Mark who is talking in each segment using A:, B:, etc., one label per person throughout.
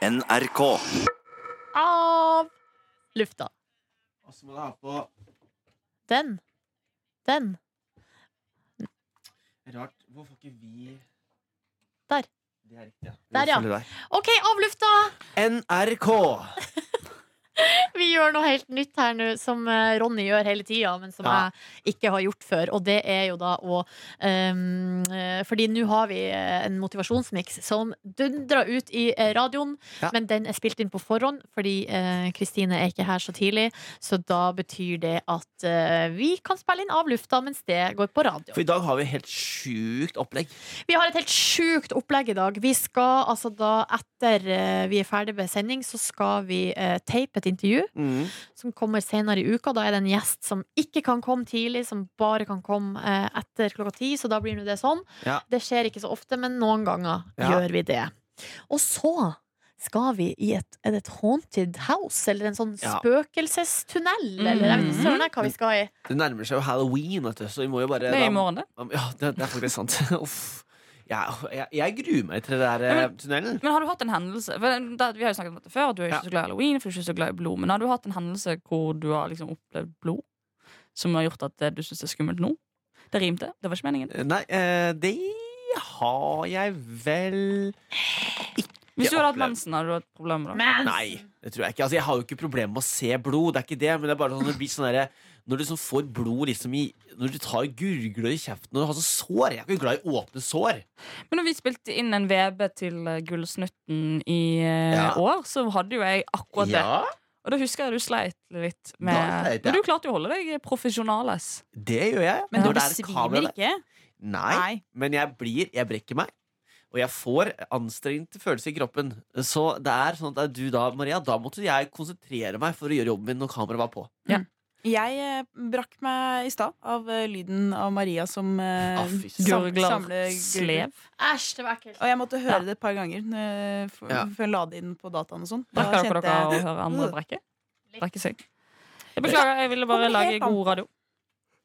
A: NRK.
B: av lufta.
C: Og så må du ha på
B: Den. Den.
C: Rart. Hvorfor får ikke vi
B: Der.
C: Det er riktig, ja.
B: Der, ja. OK, av lufta!
C: NRK!
B: Vi gjør noe helt nytt her nå, som eh, Ronny gjør hele tida, men som
C: Ja.
B: jeg ikke har gjort før. Og det er jo da å ehm, eh, Fordi nå har vi eh, en motivasjonsmiks som dundrer ut i eh, radioen,
C: Ja.
B: men den er spilt inn på forhånd fordi eh, Kristine er ikke her så tidlig. Så da betyr det at eh, vi kan spille inn av lufta mens det går på radio.
C: For i dag har vi helt sjukt opplegg.
B: Vi har et helt sjukt opplegg i dag. Vi skal altså da, etter eh, vi er ferdig med sending, så skal vi eh, tape et intervju som kommer senere i uka. Da er det en gjest som ikke kan komme tidlig, som bare kan komme eh, etter klokka ti. Så da blir nå det sånn.
C: Ja.
B: Det skjer ikke så ofte, men noen ganger
C: Ja.
B: gjør vi det. Og så skal vi i et, er det et haunted house, eller en sånn
C: Ja. Mhm.
B: spøkelsestunnel, eller jeg vet ikke søren jeg hva vi skal i.
C: Det nærmer seg jo halloween, vet du, så vi må jo bare
D: Det er i
C: da-
D: morgen, det.
C: Ja, det, det er faktisk sant. Uff. Ja, jeg, jeg gruer meg til det der
D: Ja,
C: eh,
D: men-
C: tunnelen.
D: Men har du hatt en hendelse for da, Vi har jo snakket om dette før, du er jo
C: Ja.
D: ikke så glad i halloween, for du er ikke så glad i blod. Men har du hatt en hendelse hvor du har liksom opplevd blod, som har gjort at det, du syns det er skummelt nå? Det rimte. Det var ikke meningen.
C: Eh, Nei, eh, det har jeg vel
D: Hvis
C: Ikke
D: du hadde hatt
C: opplevd.
D: mensen, hadde du hatt problemer da?
B: Men
C: Nei, det tror jeg ikke. Altså, jeg har jo ikke problemer med å se blod, det er ikke det, men det er bare sånn, det blir sånn derre- når du sånn får blod liksom i Når du tar gurgler i kjeften og du har sånn sår Jeg er ikke glad i åpne sår.
D: Men når vi spilte inn en VB til eh, Gullsnutten i eh,
C: Ja.
D: år, så hadde jo jeg akkurat det. Og da husker jeg du sleit litt med
C: Da sleit jeg.
D: Men du klarte jo å holde deg profesjonales.
C: Det gjør jeg.
D: Men
C: Når
D: du
C: det er et kamera
D: besvimer
C: der-
D: ikke?
C: Nei, men jeg blir Jeg brekker meg. Og jeg får anstrengte følelser i kroppen. Så det er sånn at du da, Maria, da måtte jeg konsentrere meg for å gjøre jobben min når kameraet var på.
E: Jeg eh, brakk meg i stad av eh, lyden av Maria som eh,
C: Ah, fy
E: sam
D: Gurgler,
E: samler eh, gurgler.
D: slev.
B: æsj, det var ekkelt.
E: Og jeg måtte høre det et par ganger eh, for,
C: Ja.
E: før jeg la det inn på dataen og sånn. Da
D: Brekker dere
E: kjente
D: dere å
E: jeg-
D: høre andre brekke?
B: Litt.
D: Brekke seg? Mm. Jeg beklager, jeg ville bare
E: Kommer
D: lage
E: helt an
D: god radio.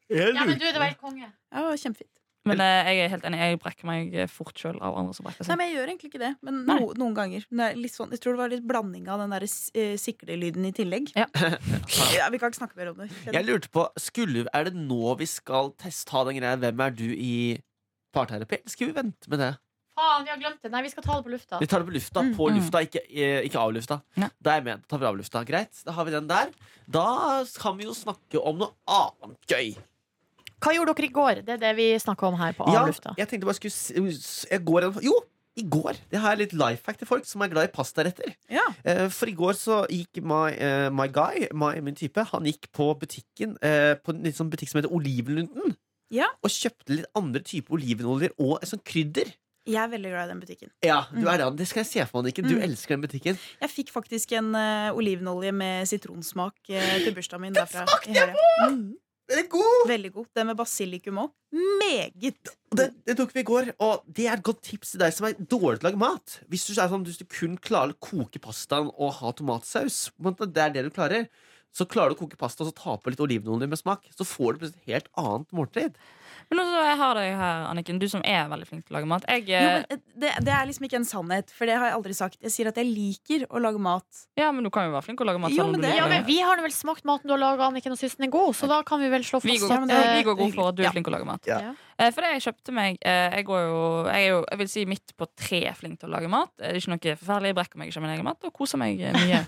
B: Ja, men du, det var helt konge.
E: Ja, det var kjempefint.
D: Men eh, jeg er helt enig, jeg brekker meg eh, fort sjøl av andre som brekker
E: Nei,
D: seg.
E: men jeg gjør egentlig ikke det. Men
D: Nei.
E: no, noen ganger. Men det er litt sånn, jeg tror det var litt blanding av den der s- eh, siklelyden i tillegg.
D: Ja.
E: Ja, vi kan ikke snakke mer om det.
C: Jeg lurte på, skulle, Er det nå vi skal teste ha den greia 'Hvem er du?' i parterapi? Eller Skal vi vente med det?
B: Faen, vi har glemt det. Nei, vi skal ta det på lufta.
C: Vi tar det på lufta. På
D: Mm.
C: lufta, ikke, eh, ikke av lufta.
D: Ja.
C: Det er jeg med. Da tar vi av lufta. Greit, da har vi den der. Da kan vi jo snakke om noe annet gøy.
B: Hva gjorde dere i går? Det er det vi snakker om her på Av lufta.
C: jeg tenkte bare skulle s- jeg går, en- Jo, i går. Det har jeg litt life hack til folk som er glad i pastaretter.
E: Ja.
C: Eh, For i går så gikk my, eh, my guy, my, min type, han gikk på butikken eh, På en litt sånn butikk som heter Olivenlunden.
E: Ja.
C: Og kjøpte litt andre typer olivenoljer og et sånt krydder.
E: Jeg er veldig glad i den butikken.
C: Ja, du
E: Mm.
C: er det, det skal jeg se for meg, Anniken. Du
E: Mm.
C: elsker den butikken.
E: Jeg fikk faktisk en eh, olivenolje med sitronsmak eh, til bursdagen min. Den smakte jeg
C: Den er god!
E: Veldig god. Den med basilikum òg. Meget.
C: Og Det, det tok vi i går, og det er et godt tips til deg som er dårlig til å lage mat. Hvis du, er sånn, hvis du kun klarer å koke pastaen og ha tomatsaus, på en måte, det er det du klarer, så klarer du å koke pasta og så ta på litt olivenolje med smak. Så får du plutselig et helt annet måltid.
D: Men også, jeg har deg her, Anniken, du som er veldig flink til å lage mat. Jeg,
E: Jo,
D: eh,
E: men eh, det, det er liksom ikke en sannhet, for det har jeg aldri sagt. Jeg sier at jeg liker å lage mat.
D: ja, men du kan jo være flink til å lage mat.
E: Jo,
D: selv om
E: men
D: du
E: det-
D: liker
B: Ja, men
D: det.
B: vi har nå vel smakt maten du har laga, Anniken, og syns den er god, så da kan vi vel slå
D: vi
B: fast
D: går,
E: Ja, men det
B: eh,
E: er-
D: vi går god for at du er
E: Ja.
D: flink til å lage mat.
C: Ja.
B: Ja.
D: Eh, For det jeg kjøpte meg eh, Jeg, går jo, jeg er jo jeg vil si midt på tre flink til å lage mat. Eh, Det er ikke noe forferdelig. Jeg brekker meg ikke av min egen mat og koser meg eh, mye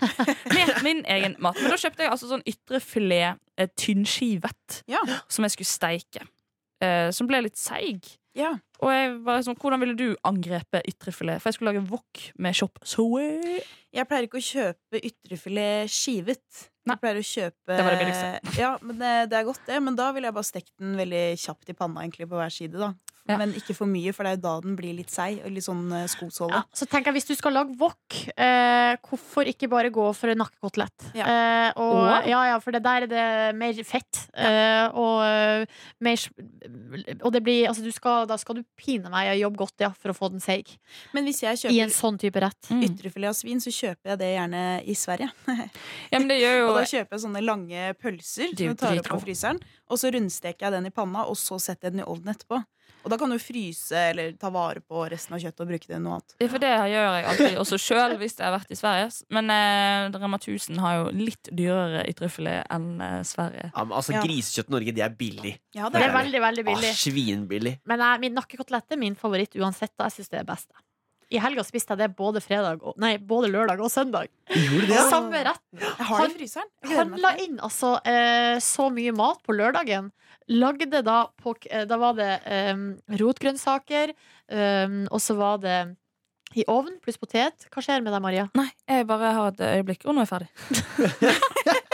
D: med min egen mat. Men da kjøpte jeg altså sånn ytre filet eh, tynnskivet
E: Ja.
D: som jeg skulle steike. Eh, som ble litt seig.
E: Ja.
D: Og jeg var sånn, Hvordan ville du angrepe ytrefilet? For jeg skulle lage wok med chop soe.
E: Jeg pleier ikke å kjøpe ytrefilet skivet.
D: Nei.
E: Jeg pleier å kjøpe eh,
D: Det var det billigste.
E: Ja, men det, det er godt, det. Men da ville jeg bare stekt den veldig kjapt i panna egentlig på hver side. da
D: Ja.
E: Men ikke for mye, for det er jo da den blir litt seig og litt sånn
B: Ja,
E: eh, skosåle.
B: så tenker jeg Hvis du skal lage wok, eh, hvorfor ikke bare gå for en nakkekotelett?
E: Ja.
B: Eh, og,
D: Og?
B: ja, ja, for det der er det mer fett. Eh, og, eh, mer, sm- og det blir Altså, du skal, da skal du pine meg og jobbe godt ja, for å få den seig.
E: Men hvis jeg
B: I en
E: kjøper
B: sånn type rett.
D: mm.
E: ytrefilet av svin, så kjøper jeg det gjerne i Sverige.
D: Ja, men det gjør jo
E: Og da kjøper jeg sånne lange pølser
D: Det er
E: som
D: jo
E: jeg tar opp av
D: dritgod.
E: fryseren. Og så rundsteker jeg den i panna, og så setter jeg den i ovnen etterpå. Og da kan du fryse eller ta vare på resten av kjøttet og bruke det til noe annet.
D: Ja, for det gjør jeg alltid også sjøl hvis jeg har vært i Sverige. Men eh, Rema 1000 har jo litt dyrere i trøffelé enn eh, Sverige.
C: Ja, men altså,
E: Ja.
C: Grisekjøtt i Norge, det er billig.
E: Ja,
B: Det
E: det
B: er
E: er det.
B: veldig, veldig billig.
C: Ah, svinbillig.
B: Men jeg, min nakkekotelett er min favoritt uansett, og jeg syns det er best. I helga spiste jeg det både, fredag og, nei, både lørdag og søndag.
C: Gjorde det?
E: Ja.
B: Samme rett.
E: Jeg har det i fryseren. Jeg gleder meg til
B: Handla
E: det.
B: inn altså eh, så mye mat på lørdagen. Lagde da på k- eh, Da var det eh, rotgrønnsaker, eh, og så var det i ovn pluss potet. Hva skjer med deg, Maria?
D: Nei, jeg bare har et øyeblikk, og nå er jeg ferdig.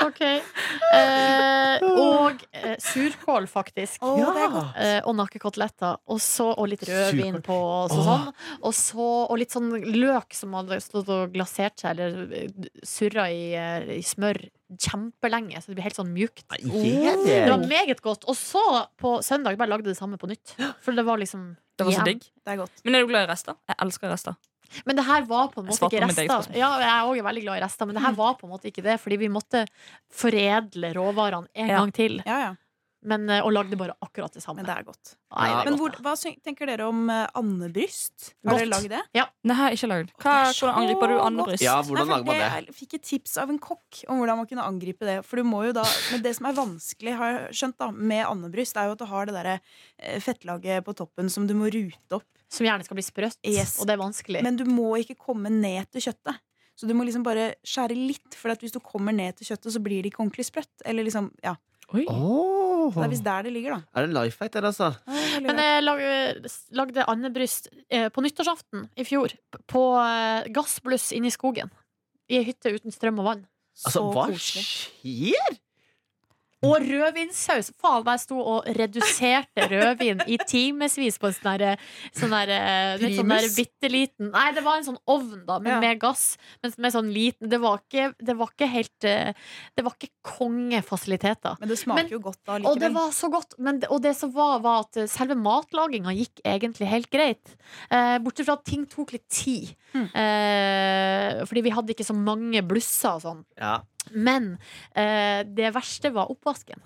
B: Ok eh, Og eh, surkål, faktisk.
E: Å, det er godt.
B: Eh, og nakkekoteletter. Og så og litt rødvin
C: Surkål.
B: på. Og, så,
C: Åh.
B: sånn. og, så, og litt sånn løk som hadde stått og glasert seg eller surra i, eh, i smør kjempelenge. Så det blir helt sånn mjukt.
C: Nei, gjør det?
B: Det var meget godt. Og så på søndag bare lagde jeg det samme på nytt. For det var liksom
D: Det var så
B: igjen.
D: digg.
E: Det er godt.
D: Men er du glad i rester? Jeg elsker rester.
B: Men det her var på en
D: Jeg
B: måte
D: svarte
B: ikke
D: med deg,
B: rester.
D: spørsmål. Mm.
B: Ja, jeg er også veldig glad i rester, men det her var på en måte ikke det. Fordi vi måtte foredle råvarene en
D: Ja.
B: gang til.
E: Ja, ja.
B: Men, eh, og lagde bare akkurat det samme.
E: Men det er godt.
B: Nei, det er
E: Men
B: godt,
E: hvor,
B: da.
E: hva syn- tenker dere om eh, andebryst? Har
B: Godt.
E: dere lagd det?
D: Nei, jeg har ikke lagd. Hva,
E: Det er så
D: hvordan angriper du
E: godt.
D: andebryst?
C: Ja, hvordan
E: Nei, for
C: lager man det?
E: Jeg fikk et tips av en kokk om hvordan man kunne angripe det. For du må jo da, men det som er vanskelig har jeg skjønt da, med andebryst, er jo at du har det derre eh, fettlaget på toppen som du må rute opp.
B: Som gjerne skal bli sprøtt,
E: Yes.
B: og det er vanskelig.
E: Men du må ikke komme ned til kjøttet. Så du må liksom bare skjære litt, for at hvis du kommer ned til kjøttet, så blir det ikke ordentlig sprøtt. Eller liksom, ja,
D: Oi.
C: Åh.
E: Det er visst der det ligger, da.
C: Er det life hack der, altså?
E: Ja, det er veldig
B: Men eh,
E: rart.
B: jeg lag- lagde andebryst eh, på nyttårsaften i fjor. p- På eh, gassbluss inne i skogen. I ei hytte uten strøm og vann.
C: altså
E: Så
C: hva
E: koselig.
C: skjer?
B: Og rødvinssaus! Faen, jeg sto og reduserte rødvin i timevis på en sånn derre sånn der, eh, litt sånn der
E: Primus?
B: bitte liten Nei, det var en sånn ovn, da, men
E: Ja.
B: med gass. Men med sånn liten Det var ikke, det var ikke helt eh, Det var ikke kongefasiliteter.
E: Men det smaker
B: Men-
E: jo godt da
B: Og det
E: likevel.
B: var så godt. Men, det- og det som var, var at eh, selve matlaginga gikk egentlig helt greit. Eh, Bortsett fra at ting tok litt tid.
E: Mm.
B: Eh, fordi vi hadde ikke så mange blusser og sånn.
C: Ja.
B: Men eh, det verste var oppvasken.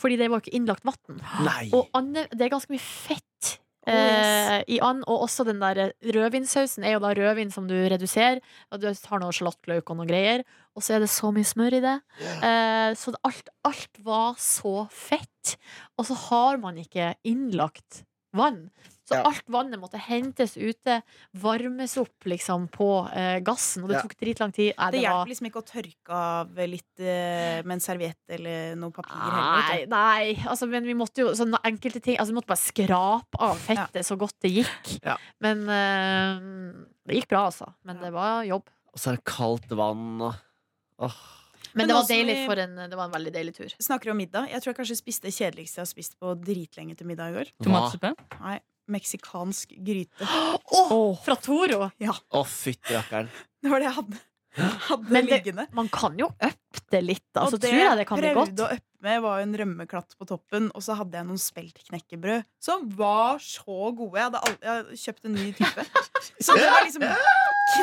B: Fordi det var jo ikke innlagt vann.
C: Nei.
B: Og ande, det er ganske mye fett.
E: Oh,
B: eh, I and, og også den der eh, rødvinssausen er jo da rødvin som du reduserer. Og du har noe sjalottløk og noe greier. Og så er det så mye smør i det. Eh, så det, alt, alt var så fett. Og så har man ikke innlagt vann. Så
C: Ja.
B: alt vannet måtte hentes ute, varmes opp liksom på eh, gassen. Og det
C: Ja.
B: tok dritlang tid. Nei,
E: Det
B: det var-
E: hjelper liksom ikke å tørke av litt eh, med en serviett eller noe papir. heller, vet
B: Nei, nei. Altså, men vi måtte jo sånne enkelte ting Altså, vi måtte bare skrape av fettet så godt det gikk.
C: Ja.
B: Men eh, det gikk bra, altså. Men det var jobb.
C: Og så er det kaldt vann og Åh.
B: Men,
E: Men
B: det var
E: også
B: deilig
E: vi-
B: for en Det var en veldig deilig tur.
E: du. Snakker om middag. Jeg tror jeg kanskje spiste det kjedeligste jeg har spist på dritlenge til middag i går.
C: Hva?
D: Tomatsuppe?
E: Nei, Meksikansk gryte.
B: Åh, Fra Toro!
C: Å, fytti rakkeren.
E: Det var det jeg hadde, hadde
B: Men det-
E: liggende.
B: Man kan jo uppe det litt, da.
E: Og
B: Så tror jeg det kan bli
E: prøvde
B: godt.
E: å øppe med var jo en rømmeklatt på toppen, og så hadde jeg noen speltknekkebrød som var så gode. Jeg hadde, aldri, jeg hadde kjøpt en ny type. Så det var liksom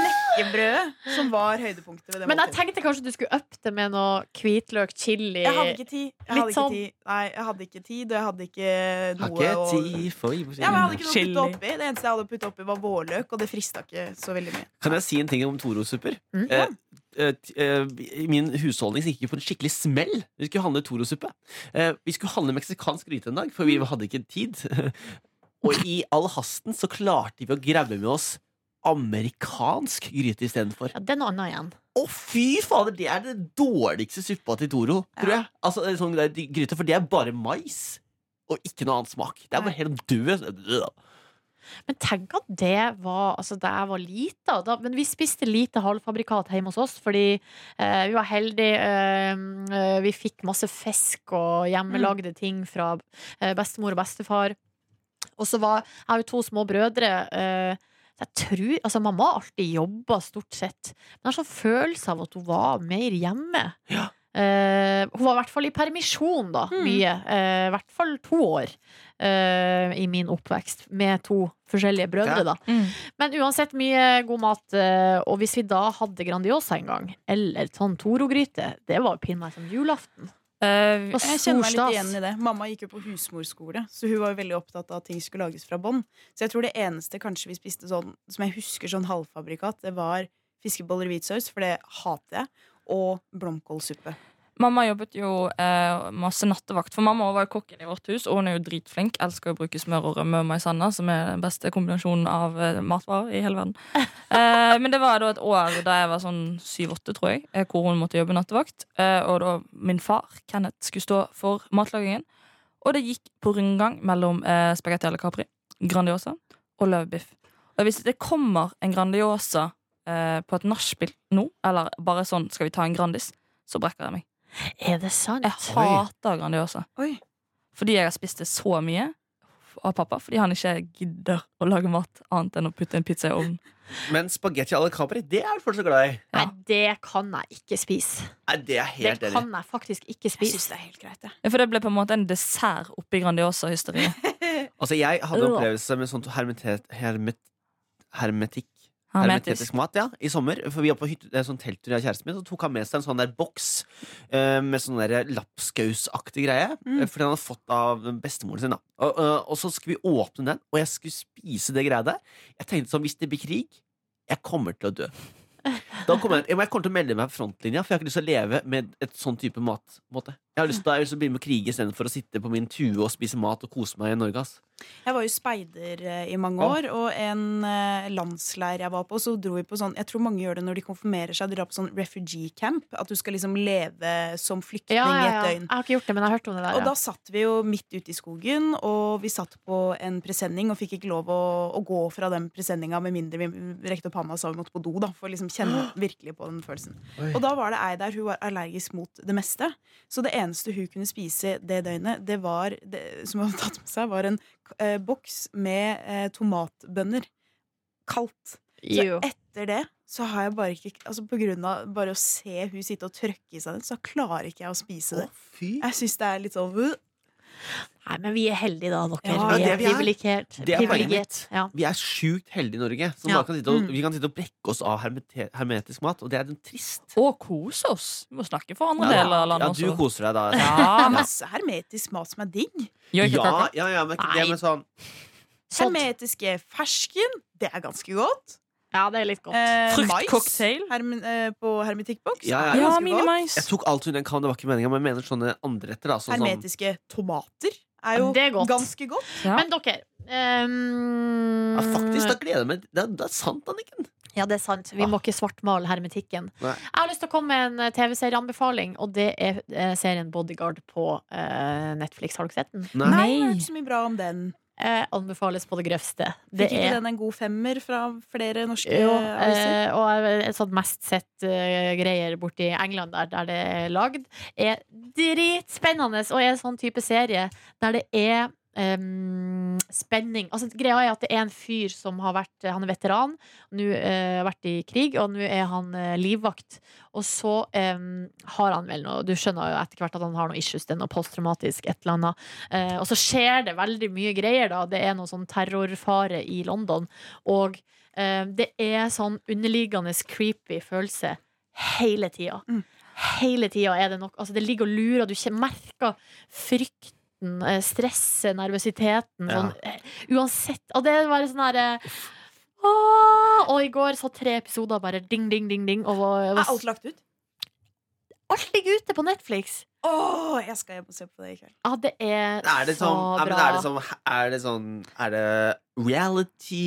E: knekkebrødet som var høydepunktet ved det
B: Men jeg
E: måltidet.
B: tenkte kanskje du skulle uppe det med noe hvitløk, chili
E: Jeg hadde ikke tid. Jeg hadde
B: Litt
E: ikke
B: sånn.
E: tid. Nei, jeg hadde ikke tid, og jeg hadde ikke
C: Har
E: noe
C: ikke
E: å
C: tid for jul.
E: ja, men jeg hadde ikke noe å
D: Chili.
E: putte oppi. Det eneste jeg hadde å putte oppi, var vårløk, og det frista ikke så veldig mye.
C: Kan jeg si en ting om Toro-supper?
B: Mm.
C: Eh, eh, t- eh, i min husholdning så gikk vi på en skikkelig smell. Vi skulle handle Toro-suppe. Eh, vi skulle handle meksikansk gryte en dag, for vi hadde ikke tid. Og i all hasten så klarte vi å grabbe med oss amerikansk gryte istedenfor.
B: Ja, det er noe annet igjen.
C: Å, fy fader! Det er den dårligste suppa til Toro, tror jeg. Altså, det er sånn der gryte, For det er bare mais. Og ikke noe annen smak. Det er bare helt død.
B: Men tenk at det var altså, da jeg var lita. Da, men vi spiste lite halvfabrikat hjemme hos oss, fordi eh, vi var heldige. eh, eh, vi fikk masse fisk og hjemmelagde
C: Mm.
B: ting fra eh, bestemor og bestefar. Og så var jeg har jo to små brødre. eh, så jeg tror, altså Mamma har alltid jobba, stort sett. Men jeg har sånn følelse av at hun var mer hjemme.
C: Ja.
B: Eh, hun var i hvert fall i permisjon, da.
E: Mm.
B: Mye. Eh, I hvert fall to år eh, i min oppvekst med to forskjellige brødre,
C: Ja.
B: da.
D: Mm.
B: Men uansett mye god mat. eh, Og hvis vi da hadde Grandiosa en gang, eller sånn Toro-gryte, det var jo pinadø som julaften.
D: Eh,
B: Hva
E: Jeg kjenner meg
B: storstas.
E: litt igjen i det. Mamma gikk jo på husmorskole, så hun var jo veldig opptatt av at ting skulle lages fra bånn. Så jeg tror det eneste kanskje vi spiste sånn, som jeg husker sånn halvfabrikat, det var fiskeboller i hvitsaus, for det hater jeg, og blomkålsuppe.
D: Mamma jobbet jo eh, masse nattevakt, for mamma var jo kokken i vårt hus. Og hun er jo dritflink. Elsker å bruke smør og rømme og maisanna, som er den beste kombinasjonen av eh, matvarer i hele verden. Eh, men det var da et år da jeg var sånn syv-åtte, tror jeg, eh, hvor hun måtte jobbe nattevakt. Eh, og da min far, Kenneth, skulle stå for matlagingen. Og det gikk på rundgang mellom eh, spagetti eller capri, Grandiosa og løvbiff. Og hvis det kommer en Grandiosa eh, på et nachspiel nå, eller bare sånn 'skal vi ta en Grandis', så brekker jeg meg.
B: Er det sant?
D: Jeg hater Grandiosa.
E: Oi.
D: Fordi jeg har spist det så mye av pappa. Fordi han ikke gidder å lage mat annet enn å putte en pizza i ovnen.
C: Men spagetti à la Capri, det er du fortsatt glad i.
B: Nei, det kan jeg ikke spise.
C: Nei, det er jeg
B: Det
C: helt enig.
B: kan jeg faktisk ikke
E: Jeg syns
B: spise.
E: det er helt greit, jeg.
D: Ja, For det ble på en måte en dessert oppi Grandiosa-hysteriet.
C: Altså, jeg hadde en
D: Øh.
C: opplevelse med sånt hermetet, hermet, hermetikk
D: Hermetisk.
C: Hermetisk mat, ja, i sommer. For vi var på hytte, eh, sånn telttur jeg og kjæresten min, så tok han med seg en sånn der boks eh, med sånn der lapskausaktig greie.
E: Mm.
C: eh, Fordi han hadde fått av bestemoren sin, da. Og, eh, og så skulle vi åpne den, og jeg skulle spise det greia der. Jeg tenkte sånn, hvis det blir krig, jeg kommer til å dø. Da kommer jeg, jeg kommer til å melde meg på frontlinja, for jeg har ikke lyst til å leve med et sånn type mat. på en Måte. Jeg har lyst til, jeg har lyst til å begynne med å krige istedenfor å sitte på min tue og spise mat og kose meg i Norge. Ass.
E: Jeg var jo speider eh, i mange
C: Ja.
E: år, og en eh, landsleir jeg var på, så dro vi på sånn Jeg tror mange gjør det når de konfirmerer seg, de drar på sånn refugee camp. At du skal liksom leve som flyktning
B: Ja, ja, ja.
E: i et
B: Jeg
E: døgn.
B: har ikke gjort det, men jeg har hørt om det der.
E: Og da satt vi jo midt ute i skogen, og vi satt på en presenning og fikk ikke lov å, å gå fra den presenninga med mindre vi rekte opp handa og sa vi måtte på do, da, for å liksom kjenne virkelig på den følelsen.
C: Oi.
E: Og da var det ei der hun var allergisk mot det meste, så det eneste hun kunne spise det døgnet, det var, det, som hun hadde tatt med seg, var en eh, boks med eh, tomatbønner. Kaldt.
B: ja.
E: Så
B: Jo.
E: etter det så har jeg bare ikke altså På grunn av bare å se hun sitte og trøkke i seg den, så klarer ikke jeg å spise det.
C: Å, fy
E: Jeg syns det er litt sånn «Åh».
B: Nei, men vi er heldige da, dere.
E: Ja,
B: vi
C: det
B: er
C: vi er.
B: privilegert.
C: Det er poenget
B: privilegert.
C: mitt.
B: Ja.
C: Vi er sjukt heldige i Norge. Som
B: Ja.
C: bare kan sitte og,
E: Mm.
C: Vi kan sitte og brekke oss av hermete, hermetisk mat, og det er den trist.
D: Og kose oss. Vi må snakke for andre
C: Ja.
D: deler av
C: Ja,
D: landet
C: du
D: også.
C: koser deg da.
D: Ja, men
E: Masse hermetisk mat som er digg.
C: Ja,
D: gjøkekaker.
C: ja, ja, men ikke det
B: Nei.
C: med sånn
B: Sånn.
E: Hermetiske eh, fersken, det er ganske godt.
B: Ja, det er litt godt.
E: Eh,
D: Fruktcocktail.
E: mais herm- eh, på hermetikkboks.
C: Ja, ja,
E: er
D: Ja,
E: ganske godt.
D: minimais.
C: Jeg tok alt hun kan, det var ikke meninga, men jeg mener sånne andreretter. da, Sånn, som-
E: Hermetiske tomater er jo
B: Det er godt.
E: ganske godt.
D: Ja.
B: Men dere ehm,
C: ja, faktisk, da
B: Mm.
C: gleder jeg meg. Det er, det er sant, Anniken.
B: Ja, det er sant.
E: Ah.
B: Vi må ikke svartmale hermetikken.
C: Nei.
B: Jeg har lyst til å komme med en eh, TV-serieanbefaling, og det er eh, serien Bodyguard på eh, Netflix. Har dere sett den?
C: Nei.
E: Nei,
D: Nei.
E: jeg hørte så mye bra om den.
B: Eh, anbefales på det grøvste. Det
E: Fikk ikke
B: er
E: den en god femmer fra flere norske
B: jo,
E: eh, aviser?
B: eh, og et sånt mest sett eh, greier borti England, der, der det er lagd, er dritspennende og er en sånn type serie der det er em, spenning. Altså, greia er at det er en fyr som har vært Han er veteran, nå eh, har vært i krig, og nå er han eh, livvakt. Og så em, har han vel noe Du skjønner jo etter hvert at han har noe issues, det er noe posttraumatisk, et eller annet. Eh, og så skjer det veldig mye greier, da. Det er noe sånn terrorfare i London. Og eh, det er sånn underliggende creepy følelse hele tida.
E: Mm.
B: Hele tida er det nok Altså, det ligger og lurer, og du kje- merker frykten, eh, stresset, nervøsiteten.
C: Ja.
B: Sånn, eh, uansett. Og det er bare sånn herre Åh! Og i går så tre episoder bare ding, ding, ding, ding. Og var,
E: Er alt lagt ut?
B: alt ligger ute på Netflix!
E: Å, jeg skal hjem og se på det i kveld.
B: Ja, det er,
C: Er det,
B: så
C: sånn, ja, men
B: bra.
C: er, det sånn, er det sånn Er det reality,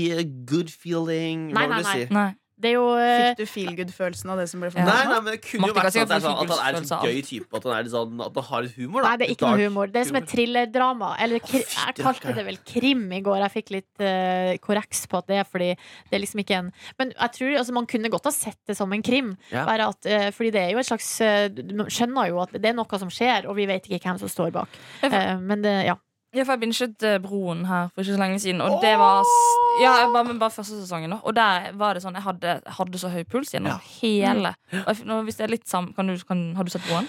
C: good feeling? Hva
B: Nei,
C: vil
B: nei,
C: du si?
D: Nei.
B: Det er jo eh,
E: Fikk du feel good-følelsen av det som ble
D: Ja.
C: Nei,
E: fortalt?
C: nei, men det kunne jo vært
D: Martin
C: sånn at,
D: kan
C: det er
D: sikkert
C: sånn, at han er en
D: følelse
C: sånn
D: av
C: gøy type. At han, er litt sånn, at han har litt humor. Da.
B: Nei, det er ikke
C: Dark
B: noe humor. Det er som et
C: humor.
B: thrillerdrama. Eller kri
C: Å, fy,
B: jeg
C: det
B: kalte
C: rakker.
B: det vel krim i går. Jeg fikk litt eh, korreks på at det er fordi det er liksom ikke en Men jeg tror altså, man kunne godt ha sett det som en krim.
C: Ja.
B: Bare at, eh, fordi det er jo et slags eh, Du skjønner jo at det er noe som skjer, og vi vet ikke hvem som står bak.
D: Jeg får-
B: Eh, men det, ja.
D: Ja, for jeg binget eh, Broen her for ikke så lenge siden. Og det var s- ja, jeg bare, men bare første sesongen, da. Og der var det sånn Jeg hadde, jeg hadde så høy puls gjennom
C: Ja.
B: Mm.
D: hele. Og jeg, f- nå, hvis det er litt sam, kan du, kan, Har du sett Broen?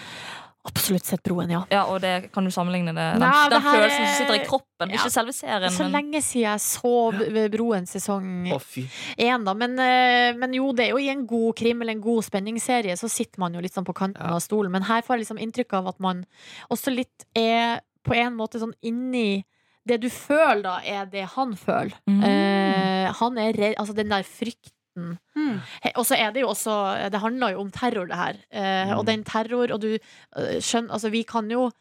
B: Absolutt sett broen, ja.
D: Ja, og det kan du sammenligne det Den,
B: Nei, det
D: den
B: her er-
D: følelsen som sitter i kroppen.
B: Ja.
D: Ikke selve serien,
B: Så
D: men
B: lenge siden jeg så B- Broen sesong
C: Å, fy.
B: én, da. Men, eh, men jo, det er jo i en god krim eller en god spenningsserie, så sitter man jo litt sånn på kanten
C: Ja.
B: av stolen. Men her får jeg liksom inntrykk av at man også litt er på en måte sånn inni Det du føler, da, er det han føler.
D: Mm.
B: Eh, han er redd Altså den der frykten.
E: Mm.
B: He- Og så er det jo også eh, Det handler jo om terror, det her. Eh,
C: Mm.
B: Og den terror, og du eh, skjønner Altså, vi kan jo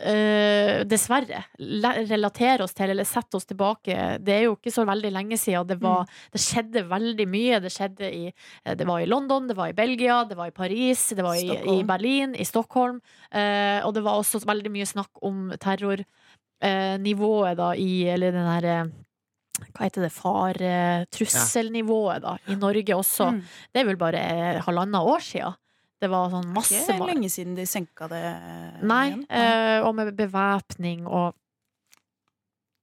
B: eh, dessverre le- relatere oss til, eller sette oss tilbake. Det er jo ikke så veldig lenge siden. og Det, var, det skjedde veldig mye. Det skjedde i eh, Det var i London, det var i Belgia, det var i Paris, det var i, i
E: Stockholm.
B: Berlin, i Stockholm. Eh, og det var også veldig mye snakk om terrornivået, da, i Eller den herre hva heter det, faretrusselnivået da, i Norge også.
E: Mm.
B: Det er vel bare eh, halvannet år siden. Det var sånn masse
E: Ikke
B: ma-
E: lenge siden de senka det eh,
B: Nei,
E: igjen.
B: eh, og med bevæpning og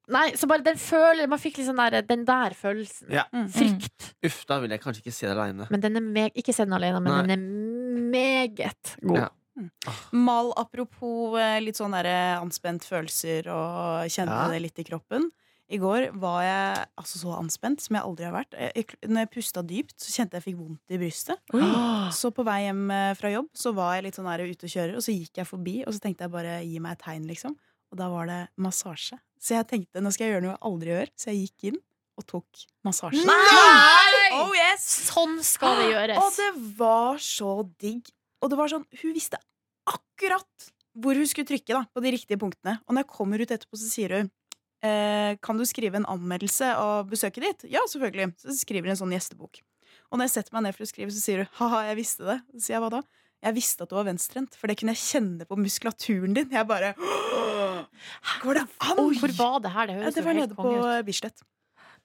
B: Nei, så bare den følelsen Man fikk liksom der, den der følelsen.
C: Ja.
E: Mm.
B: Frykt.
C: Uff, da vil jeg kanskje ikke se det aleine.
B: Men den er meg, ikke se den alene, men
C: Nei.
B: den er meget god.
C: Ja.
E: Mal apropos eh, litt sånn derre anspent følelser og kjenne
C: Ja.
E: det litt i kroppen. I går var jeg altså så anspent som jeg aldri har vært. Jeg, jeg, når jeg pusta dypt, så kjente jeg jeg fikk vondt i brystet.
D: Ah.
E: Så på vei hjem eh, fra jobb så var jeg litt sånn der ute og kjører, og så gikk jeg forbi, og så tenkte jeg bare gi meg et tegn, liksom. Og da var det massasje. Så jeg tenkte nå skal jeg gjøre noe jeg aldri gjør, så jeg gikk inn og tok massasje.
B: Nei!
E: Oh yes!
B: Sånn skal det
E: Og
B: gjøres.
E: det var så digg. Og det var sånn, hun visste akkurat hvor hun skulle trykke da, på de riktige punktene. Og når jeg kommer ut etterpå, så sier hun eh, Kan du skrive en anmeldelse av besøket ditt? Ja, selvfølgelig. Så skriver hun en sånn gjestebok. Og når jeg setter meg ned for å skrive, så sier hun ha-ha, jeg visste det. Så sier jeg hva da? Jeg visste at du var venstrehendt, for det kunne jeg kjenne på muskulaturen din. Jeg bare Går det an?
B: Oi, Hvor var det her? Det
E: ja,
B: høres
E: det
B: jo
E: var
B: helt
E: nede på
B: konge ut.
E: eh, Bislett.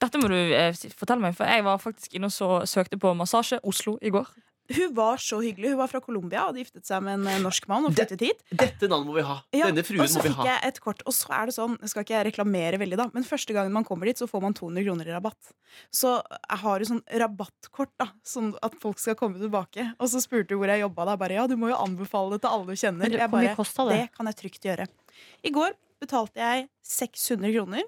D: Dette må du eh, si- fortelle meg, for jeg var faktisk inne og så, søkte på massasje Oslo i går.
E: Hun var så hyggelig. Hun var fra Colombia og hadde giftet seg med en eh, norsk mann og
C: Det-
E: flyttet hit.
C: Dette navnet må vi ha.
E: Ja,
C: Denne fruen
E: og så
C: må vi
E: fikk
C: ha.
E: jeg et kort, og så er det sånn, skal ikke jeg reklamere veldig da, men første gangen man kommer dit, så får man 200 kroner i rabatt. Så jeg har jo sånn rabattkort da, sånn at folk skal komme tilbake. Og så spurte hun hvor jeg jobbet da, bare ja, du må jo anbefale det til alle du kjenner.
B: Men det,
E: Jeg
B: hvor mye
E: bare,
B: kosta det?
E: det kan jeg trygt gjøre. I går betalte jeg 600 kroner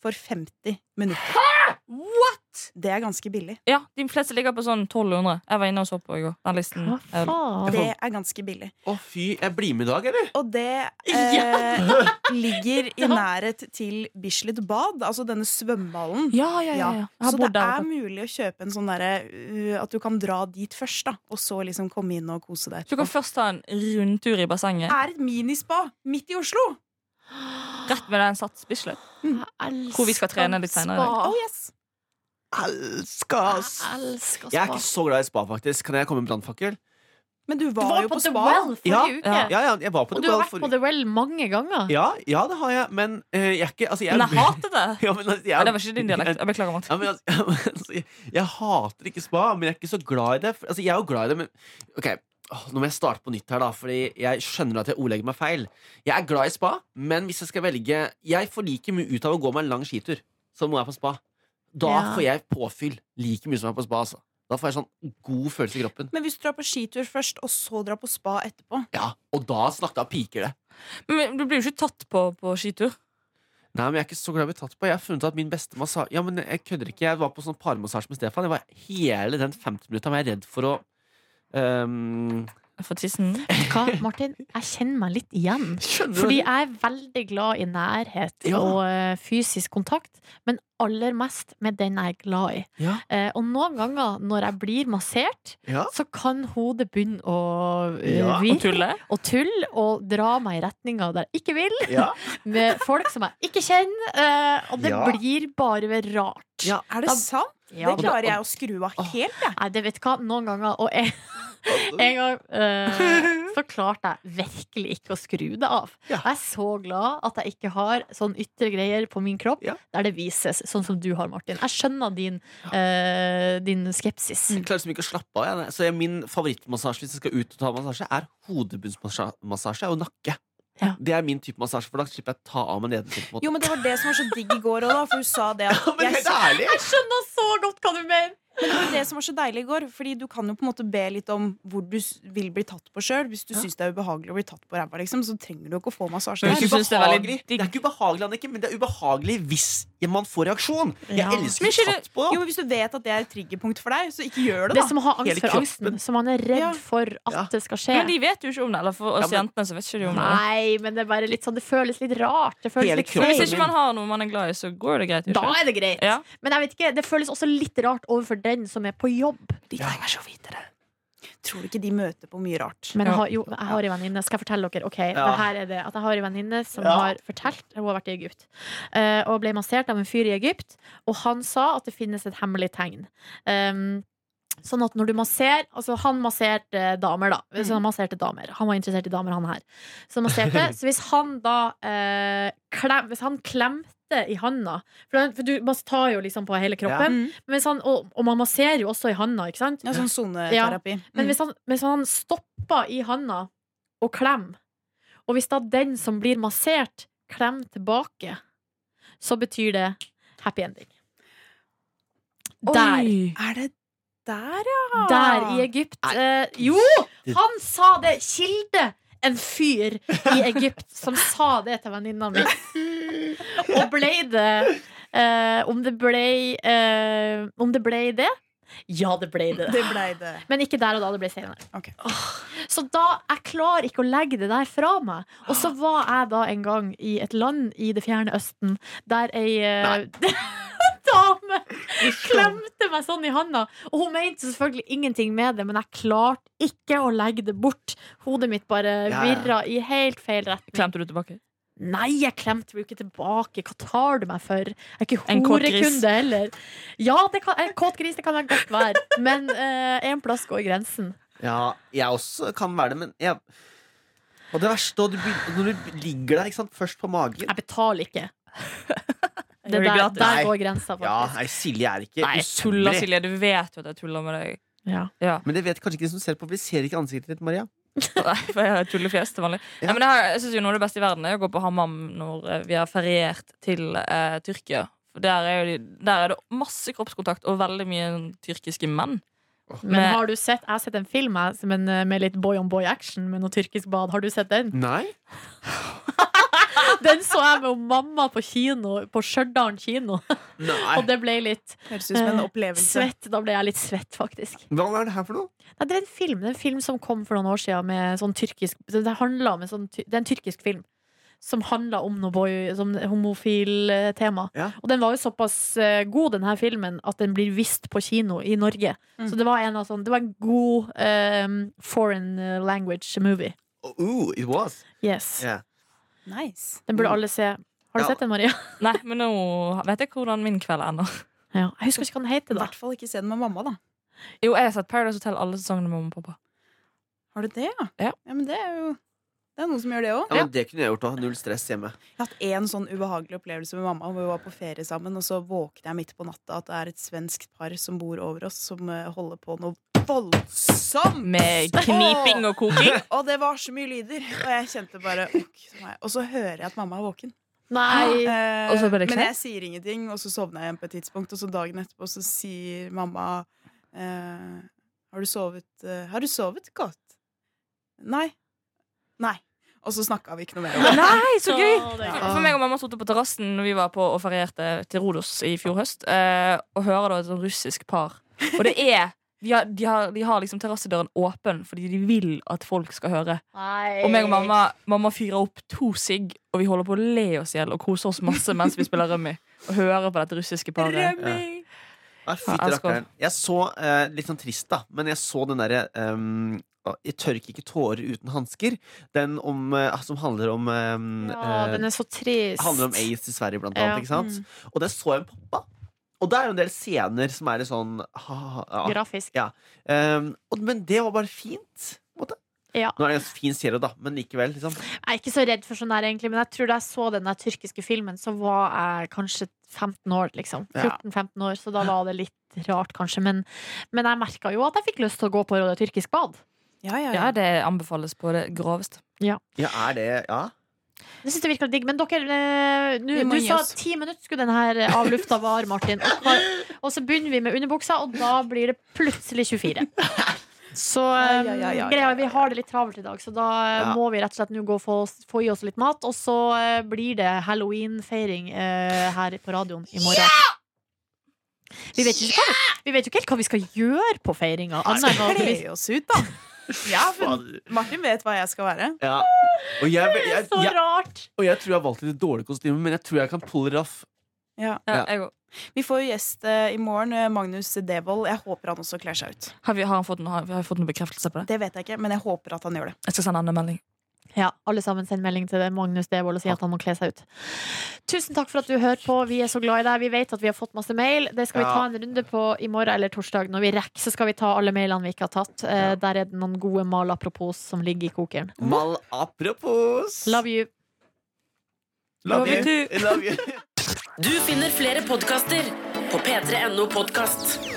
E: for 50 minutter.
D: What?!
E: Det er ganske billig.
D: Ja, De fleste ligger på sånn 1200. Jeg var inne og så på i går. Den listen.
B: Hva
D: eh,
B: faen?
E: Det er ganske billig.
C: Å, fy. Jeg blir med i dag, eller?
E: Og det eh, ligger i nærhet til Bislett Bad, altså denne svømmehallen.
D: Ja, ja, ja, ja. Jeg har
E: Så det
D: bodd der.
E: er mulig å kjøpe en sånn derre uh, At du kan dra dit først, da, og så liksom komme inn og kose deg.
D: Så du kan først ta en rundtur i
E: Det
D: bassenget.
E: er et minispa midt i Oslo!
D: Rett med den Sats Bislett. Hvor vi skal trene litt senere i dag.
E: Oh yes!
C: Elsker
B: Jeg elsker
C: Jeg er
B: spa.
C: ikke så glad i spa, faktisk. Kan jeg komme med brannfakkel?
E: Men du
B: Du
E: var,
B: var
E: jo
B: på
E: på,
B: The
E: spa.
B: Well forrige
C: Ja,
B: uke.
D: ja,
C: Ja, ja, jeg var på
B: Og
C: det
B: du har
C: bare
B: vært
C: for-
B: på The Well mange ganger.
C: Ja, ja, det har jeg, men eh, jeg er ikke altså, jeg,
D: Men jeg hater det!
C: ja, men, altså,
D: Nei,
C: jeg,
D: det var ikke din dialekt. Jeg beklager. Martin.
C: Ja, men, altså, ja, men, altså, jeg, jeg hater ikke spa, men jeg er ikke så glad i det. For- Altså, jeg er jo glad i det, men Ok, åh, nå må jeg starte på nytt her, da, Fordi jeg skjønner at jeg ordlegger meg feil. Jeg er glad i spa, men hvis jeg skal velge Jeg får like mye ut av å gå meg en lang skitur som når jeg er på spa. Da
B: Ja.
C: får jeg påfyll like mye som jeg er på spa. Altså. Da får jeg sånn god følelse i kroppen.
E: Men hvis du drar på skitur først, og så drar på spa etterpå
C: Ja, Og da snakka piker det.
D: Men du blir jo ikke tatt på på skitur.
C: Nei, men Jeg er ikke så glad i å bli tatt på. Jeg har funnet at min beste massasje Ja, men jeg kødder ikke. Jeg var på sånn parmassasje med Stefan. Jeg var Hele den 50 minutta var jeg redd for å ehm,
D: For tissen.
B: Vet du Hva, Martin? Jeg kjenner meg litt igjen.
C: Skjønner du?
B: Fordi jeg er veldig glad i nærhet
C: Ja.
B: og eh, fysisk kontakt, men aller mest med den jeg er glad i.
C: Ja.
B: Eh, og noen ganger når jeg blir massert,
C: Ja.
B: så kan hodet begynne å eh,
C: Ja, og
D: Og
B: vri
D: tulle.
B: og tulle og dra meg i retninger der jeg ikke vil,
C: Ja.
B: med folk som jeg ikke kjenner. eh, og det
C: Ja.
B: blir bare rart.
C: Ja.
E: Er det
B: Da-
E: sant?
B: Ja,
E: det
B: da-
E: klarer jeg å skru av
C: Åh.
E: helt, jeg.
B: Nei, det vet du hva, noen ganger Og en, en gang eh, så klarte jeg virkelig ikke å skru det av.
C: Ja.
B: Jeg er så glad at jeg ikke har sånn ytre greier på min kropp
C: Ja.
B: der det vises, sånn som du har, Martin. Jeg skjønner din, eh, din skepsis.
C: Jeg klarer liksom ikke å slappe av. Jeg. Så jeg, min favorittmassasje hvis jeg skal ut og ta massasje, er hodebunnsmassasje og nakke.
B: Ja.
C: Det er min type massasje, for da slipper jeg å ta av meg nedentil. på en måte.
E: Jo, men det var det som var så digg i går òg, da, for hun sa det at
C: Men
E: jeg
C: helt ærlig!
B: Jeg skjønner så godt hva du mener!
E: Men det var det som var så deilig i går, Fordi du kan jo på en måte be litt om hvor du s- vil bli tatt på sjøl. Hvis du
C: Ja.
E: syns det er ubehagelig å bli tatt på ræva, liksom, så trenger du ikke å få massasje.
D: Men
C: Det
D: hvis
C: er,
D: du
C: ikke
D: synes det er veldig
C: ubehagelig. det
D: digg-
C: er ikke ubehagelig, Annike, men det er ubehagelig hvis man får reaksjon. Jeg
B: Ja.
C: elsker å bli
D: Men ikke det-
C: tatt på.
E: Jo, men Hvis du vet at det er et triggerpunkt for deg, så ikke gjør det,
B: Det
E: da.
B: som å ha angst
C: Hele
B: for angsten,
C: kroppen.
B: som man er redd
E: Ja.
B: for at
C: Ja.
B: det skal skje.
D: Men de vet jo ikke om det. Eller for oss
C: Ja, men-
D: jentene så vet ikke de om det.
B: Nei, men det er bare litt sånn Det føles litt rart. Det føles
C: Hele
B: litt
C: kroppen
D: Hvis
B: feil.
D: ikke man har noe man er glad i, så går det greit.
B: Da er det greit.
D: Ja.
B: Men jeg vet ikke, det føles også litt rart overfor den som er på jobb.
D: De trenger ikke å vite det.
E: Tror du ikke de møter på mye rart?
B: Men
D: Ja.
B: jeg har, jo, jeg har en venninne Skal jeg fortelle dere? Ok,
C: Ja.
B: det her er det At jeg har en venninne som
C: Ja.
B: har fortalt Hun har vært i Egypt eh, Og ble massert av en fyr i Egypt Og han sa at det finnes et hemmelig tegn um, Sånn at når du masserer Altså han masserte damer da Så han masserte damer Han var interessert i damer han her Så han masserte Så hvis han da eh, klem, Hvis han klemte i handa For, han- for du mass- tar jo liksom på hele kroppen
E: Mm.
B: Men hvis han, og, og man masserer jo også i handa Ikke sant?
E: Ja, sånn soneterapi.
B: Men
E: Mm.
B: hvis han, hvis han stopper i handa og klemmer, og hvis da den som blir massert, klemmer tilbake, så betyr det happy ending. Der.
E: Mm. Er det der, ja?
B: Der i Egypt. Eh, jo! Han sa det! Kilde! En fyr i Egypt som sa det til venninna mi. Og ble det eh, Om det ble eh, Om det ble det? Ja, det ble det.
E: Det blei det.
B: Men ikke der og da, det ble senere.
E: Ok.
B: Åh, Så da, jeg klarer ikke å legge det der fra meg. Og så var jeg da en gang i et land i det fjerne østen, der ei eh, dame klemte meg sånn i handa. Og hun mente selvfølgelig ingenting med det, men jeg klarte ikke å legge det bort. Hodet mitt bare
C: Ja, ja.
B: virra i helt feil retning.
D: Klemte du tilbake?
B: Nei, jeg klemte jo ikke tilbake. Hva tar du meg for? Jeg er ikke
D: En kåt gris.
B: horekunde heller. Ja, det kan, en kåt gris det kan jeg godt være, men eh, en plass går grensen.
C: Ja, jeg også kan være det, men jeg Og det verste, og du, begyn- når du ligger der ikke sant, først på magen
B: Jeg betaler ikke. Det
D: Er
B: der,
D: du glad i det?
B: der
C: Nei.
B: går grensa,
C: Ja,
B: faktisk.
C: nei, Silje er ikke
D: Nei, jeg tuller,
C: usynlig.
D: Silje. Du vet jo at jeg tuller med deg.
B: Ja.
C: Men det vet kanskje ikke de som ser på, for de ser ikke ansiktet ditt, Maria.
D: Nei, for jeg har et tullefjes til vanlig.
C: Ja.
D: Nei, men jeg, har, jeg synes jo noe av det beste i verden er å gå på Hammam når eh, vi har feriert til eh, Tyrkia. For der er, jo, de- der er det masse kroppskontakt og veldig mye tyrkiske menn.
B: Men har du sett Jeg har sett en film jeg, som en, eh, med litt boy on boy action med noe tyrkisk bad. Har du sett den?
C: Nei
B: Den så jeg med mamma på kino På Stjørdal kino,
C: Nei
B: og det ble litt
E: Høres ut som en
B: Eh,
E: opplevelse.
B: svett. Da ble jeg litt svett, faktisk.
C: Hva er det her for noe?
B: Nei, det er en film Det er en film som kom for noen år siden med sånn tyrkisk, det, det handler om en sånn, ty- det er en tyrkisk film som handler om noe boy, sånn homofil eh, tema.
C: Ja.
B: Og den var jo såpass eh, god, den her filmen, at den blir vist på kino i Norge.
E: Mm.
B: Så det var en, av sånn, det var en god eh, foreign eh, language movie.
C: Oh, it was
B: Yes.
C: Ja.
E: Nice.
B: Den burde alle se. Har du
C: Ja.
B: sett den, Maria?
D: Nei, men nå vet jeg hvordan min kveld ender.
B: Ja. Jeg husker ikke hva den
E: I
B: heter, da.
E: hvert fall ikke se den med mamma, da.
D: Jo, jeg har sett Paradise Hotel alle sesongene med mamma og pappa.
E: Har du det, ja?
D: Ja.
E: men det er jo Det er noen som gjør det òg.
C: ja, men Det kunne jeg gjort òg. Null stress hjemme.
E: Jeg har hatt én sånn ubehagelig opplevelse med mamma. Hvor vi var på ferie sammen, og så våkner jeg midt på natta at det er et svensk par som bor over oss, som eh, holder på noe voldsomt!
D: Med kniping og koking.
E: Og det var så mye lyder, og jeg kjente bare ok, så meg. Og så hører jeg at mamma er våken.
B: Nei.
E: Eh,
D: Og så ble det
E: men
D: knert?
E: jeg sier ingenting, og så sovna jeg igjen på et tidspunkt, og så dagen etterpå så sier mamma eh, Har du sovet eh, Har du sovet godt? Nei. Nei. Og så snakka vi ikke noe mer om det.
D: Nei, så gøy!
B: Å, det er
E: Ja.
B: gøy.
D: For meg og mamma satt på terrassen når vi var på og ferierte til Rodos i fjor høst, eh, og hører da et sånn russisk par. Og det er de har, de, har, de har liksom terrassedøren åpen fordi de vil at folk skal høre.
B: Nei.
D: Og meg og mamma, mamma fyrer opp to sigg, og vi holder på å le oss i hjel og koser oss masse mens vi spiller rummy. Og hører på dette russiske paret.
E: Rømming!
C: Ja, fytti
D: jeg skal-
C: rakkeren. Jeg så eh, litt sånn trist, da, men jeg så den derre ehm, å, Jeg tørker ikke tårer uten hansker. Den om, eh, som handler om ehm,
B: Ja,
C: eh,
B: den er så trist.
C: handler om aids i Sverige, blant
B: Ja. Mm.
C: annet. Ikke sant? Og der så jeg en pappa. Og det er jo en del scener som er litt sånn ha, ha, ha.
B: Grafisk.
C: Ehm, og, Men det var bare fint. på en måte.
B: Ja.
C: Nå er det en fin serie, da, men likevel. Liksom.
B: Jeg er ikke så redd for sånn der, egentlig, men jeg tror da jeg så den der tyrkiske filmen, så var jeg kanskje 15 år, liksom.
C: Ja.
B: 14-15 år, så da var det litt rart, kanskje. Men, men jeg merka jo at jeg fikk lyst til å gå på Rådet tyrkisk bad.
E: Ja, ja, ja.
D: Ja, det anbefales på det groveste.
C: Ja, er det Ja?
B: Det synes jeg virker digg. Men dere, eh,
E: Vi
B: nå-
E: må
B: du
E: gi
B: sa
E: oss.
B: ti minutter skulle den her eh, av lufta vare, Martin. Og, hva- og så begynner vi med underbuksa, og da blir det plutselig 24. Så eh,
E: Ja, ja, ja, ja,
B: greia, er, vi har det litt travelt i dag, så da eh,
C: Ja.
B: må vi rett og slett nå gå og få, få i oss litt mat. Og så eh, blir det halloweenfeiring eh, her på radioen i morgen. Vi vet, jo ikke hva, vi- vi vet jo ikke helt hva vi skal gjøre på feiringa. Altså, Annet enn at vi-
E: Kle oss ut, da. Ja, men
C: Fader.
E: Martin vet hva jeg skal være.
C: Ja. Og jeg, jeg, jeg,
B: Så
C: jeg,
B: rart!
C: og jeg tror jeg har valgt et dårlig kostyme, men jeg tror jeg kan pull it off.
E: Ja.
D: Ja,
C: Ja.
D: jeg går.
E: Vi får jo gjest eh, i morgen, eh, Magnus Devold. Jeg håper han også kler seg ut.
D: Har, vi, har, han fått noe, har vi fått noen bekreftelse på det?
E: Det vet jeg ikke, men jeg håper at han gjør det.
D: Jeg skal sende han en melding.
B: Ja, alle sammen send melding til det. Magnus Devold og si at han må kle seg ut. Tusen takk for at du hører på. Vi er så glad i deg. Vi vet at vi har fått masse mail. Det skal vi
C: Ja.
B: ta en runde på i morgen eller torsdag. Når vi rekker, så skal vi ta alle mailene vi ikke har tatt. Eh, Der er det noen gode mal apropos som ligger i kokeren.
C: Mal apropos.
B: Love you.
C: Love
D: Love
C: you. Love you.
A: Du finner flere podkaster på p3.no podkast.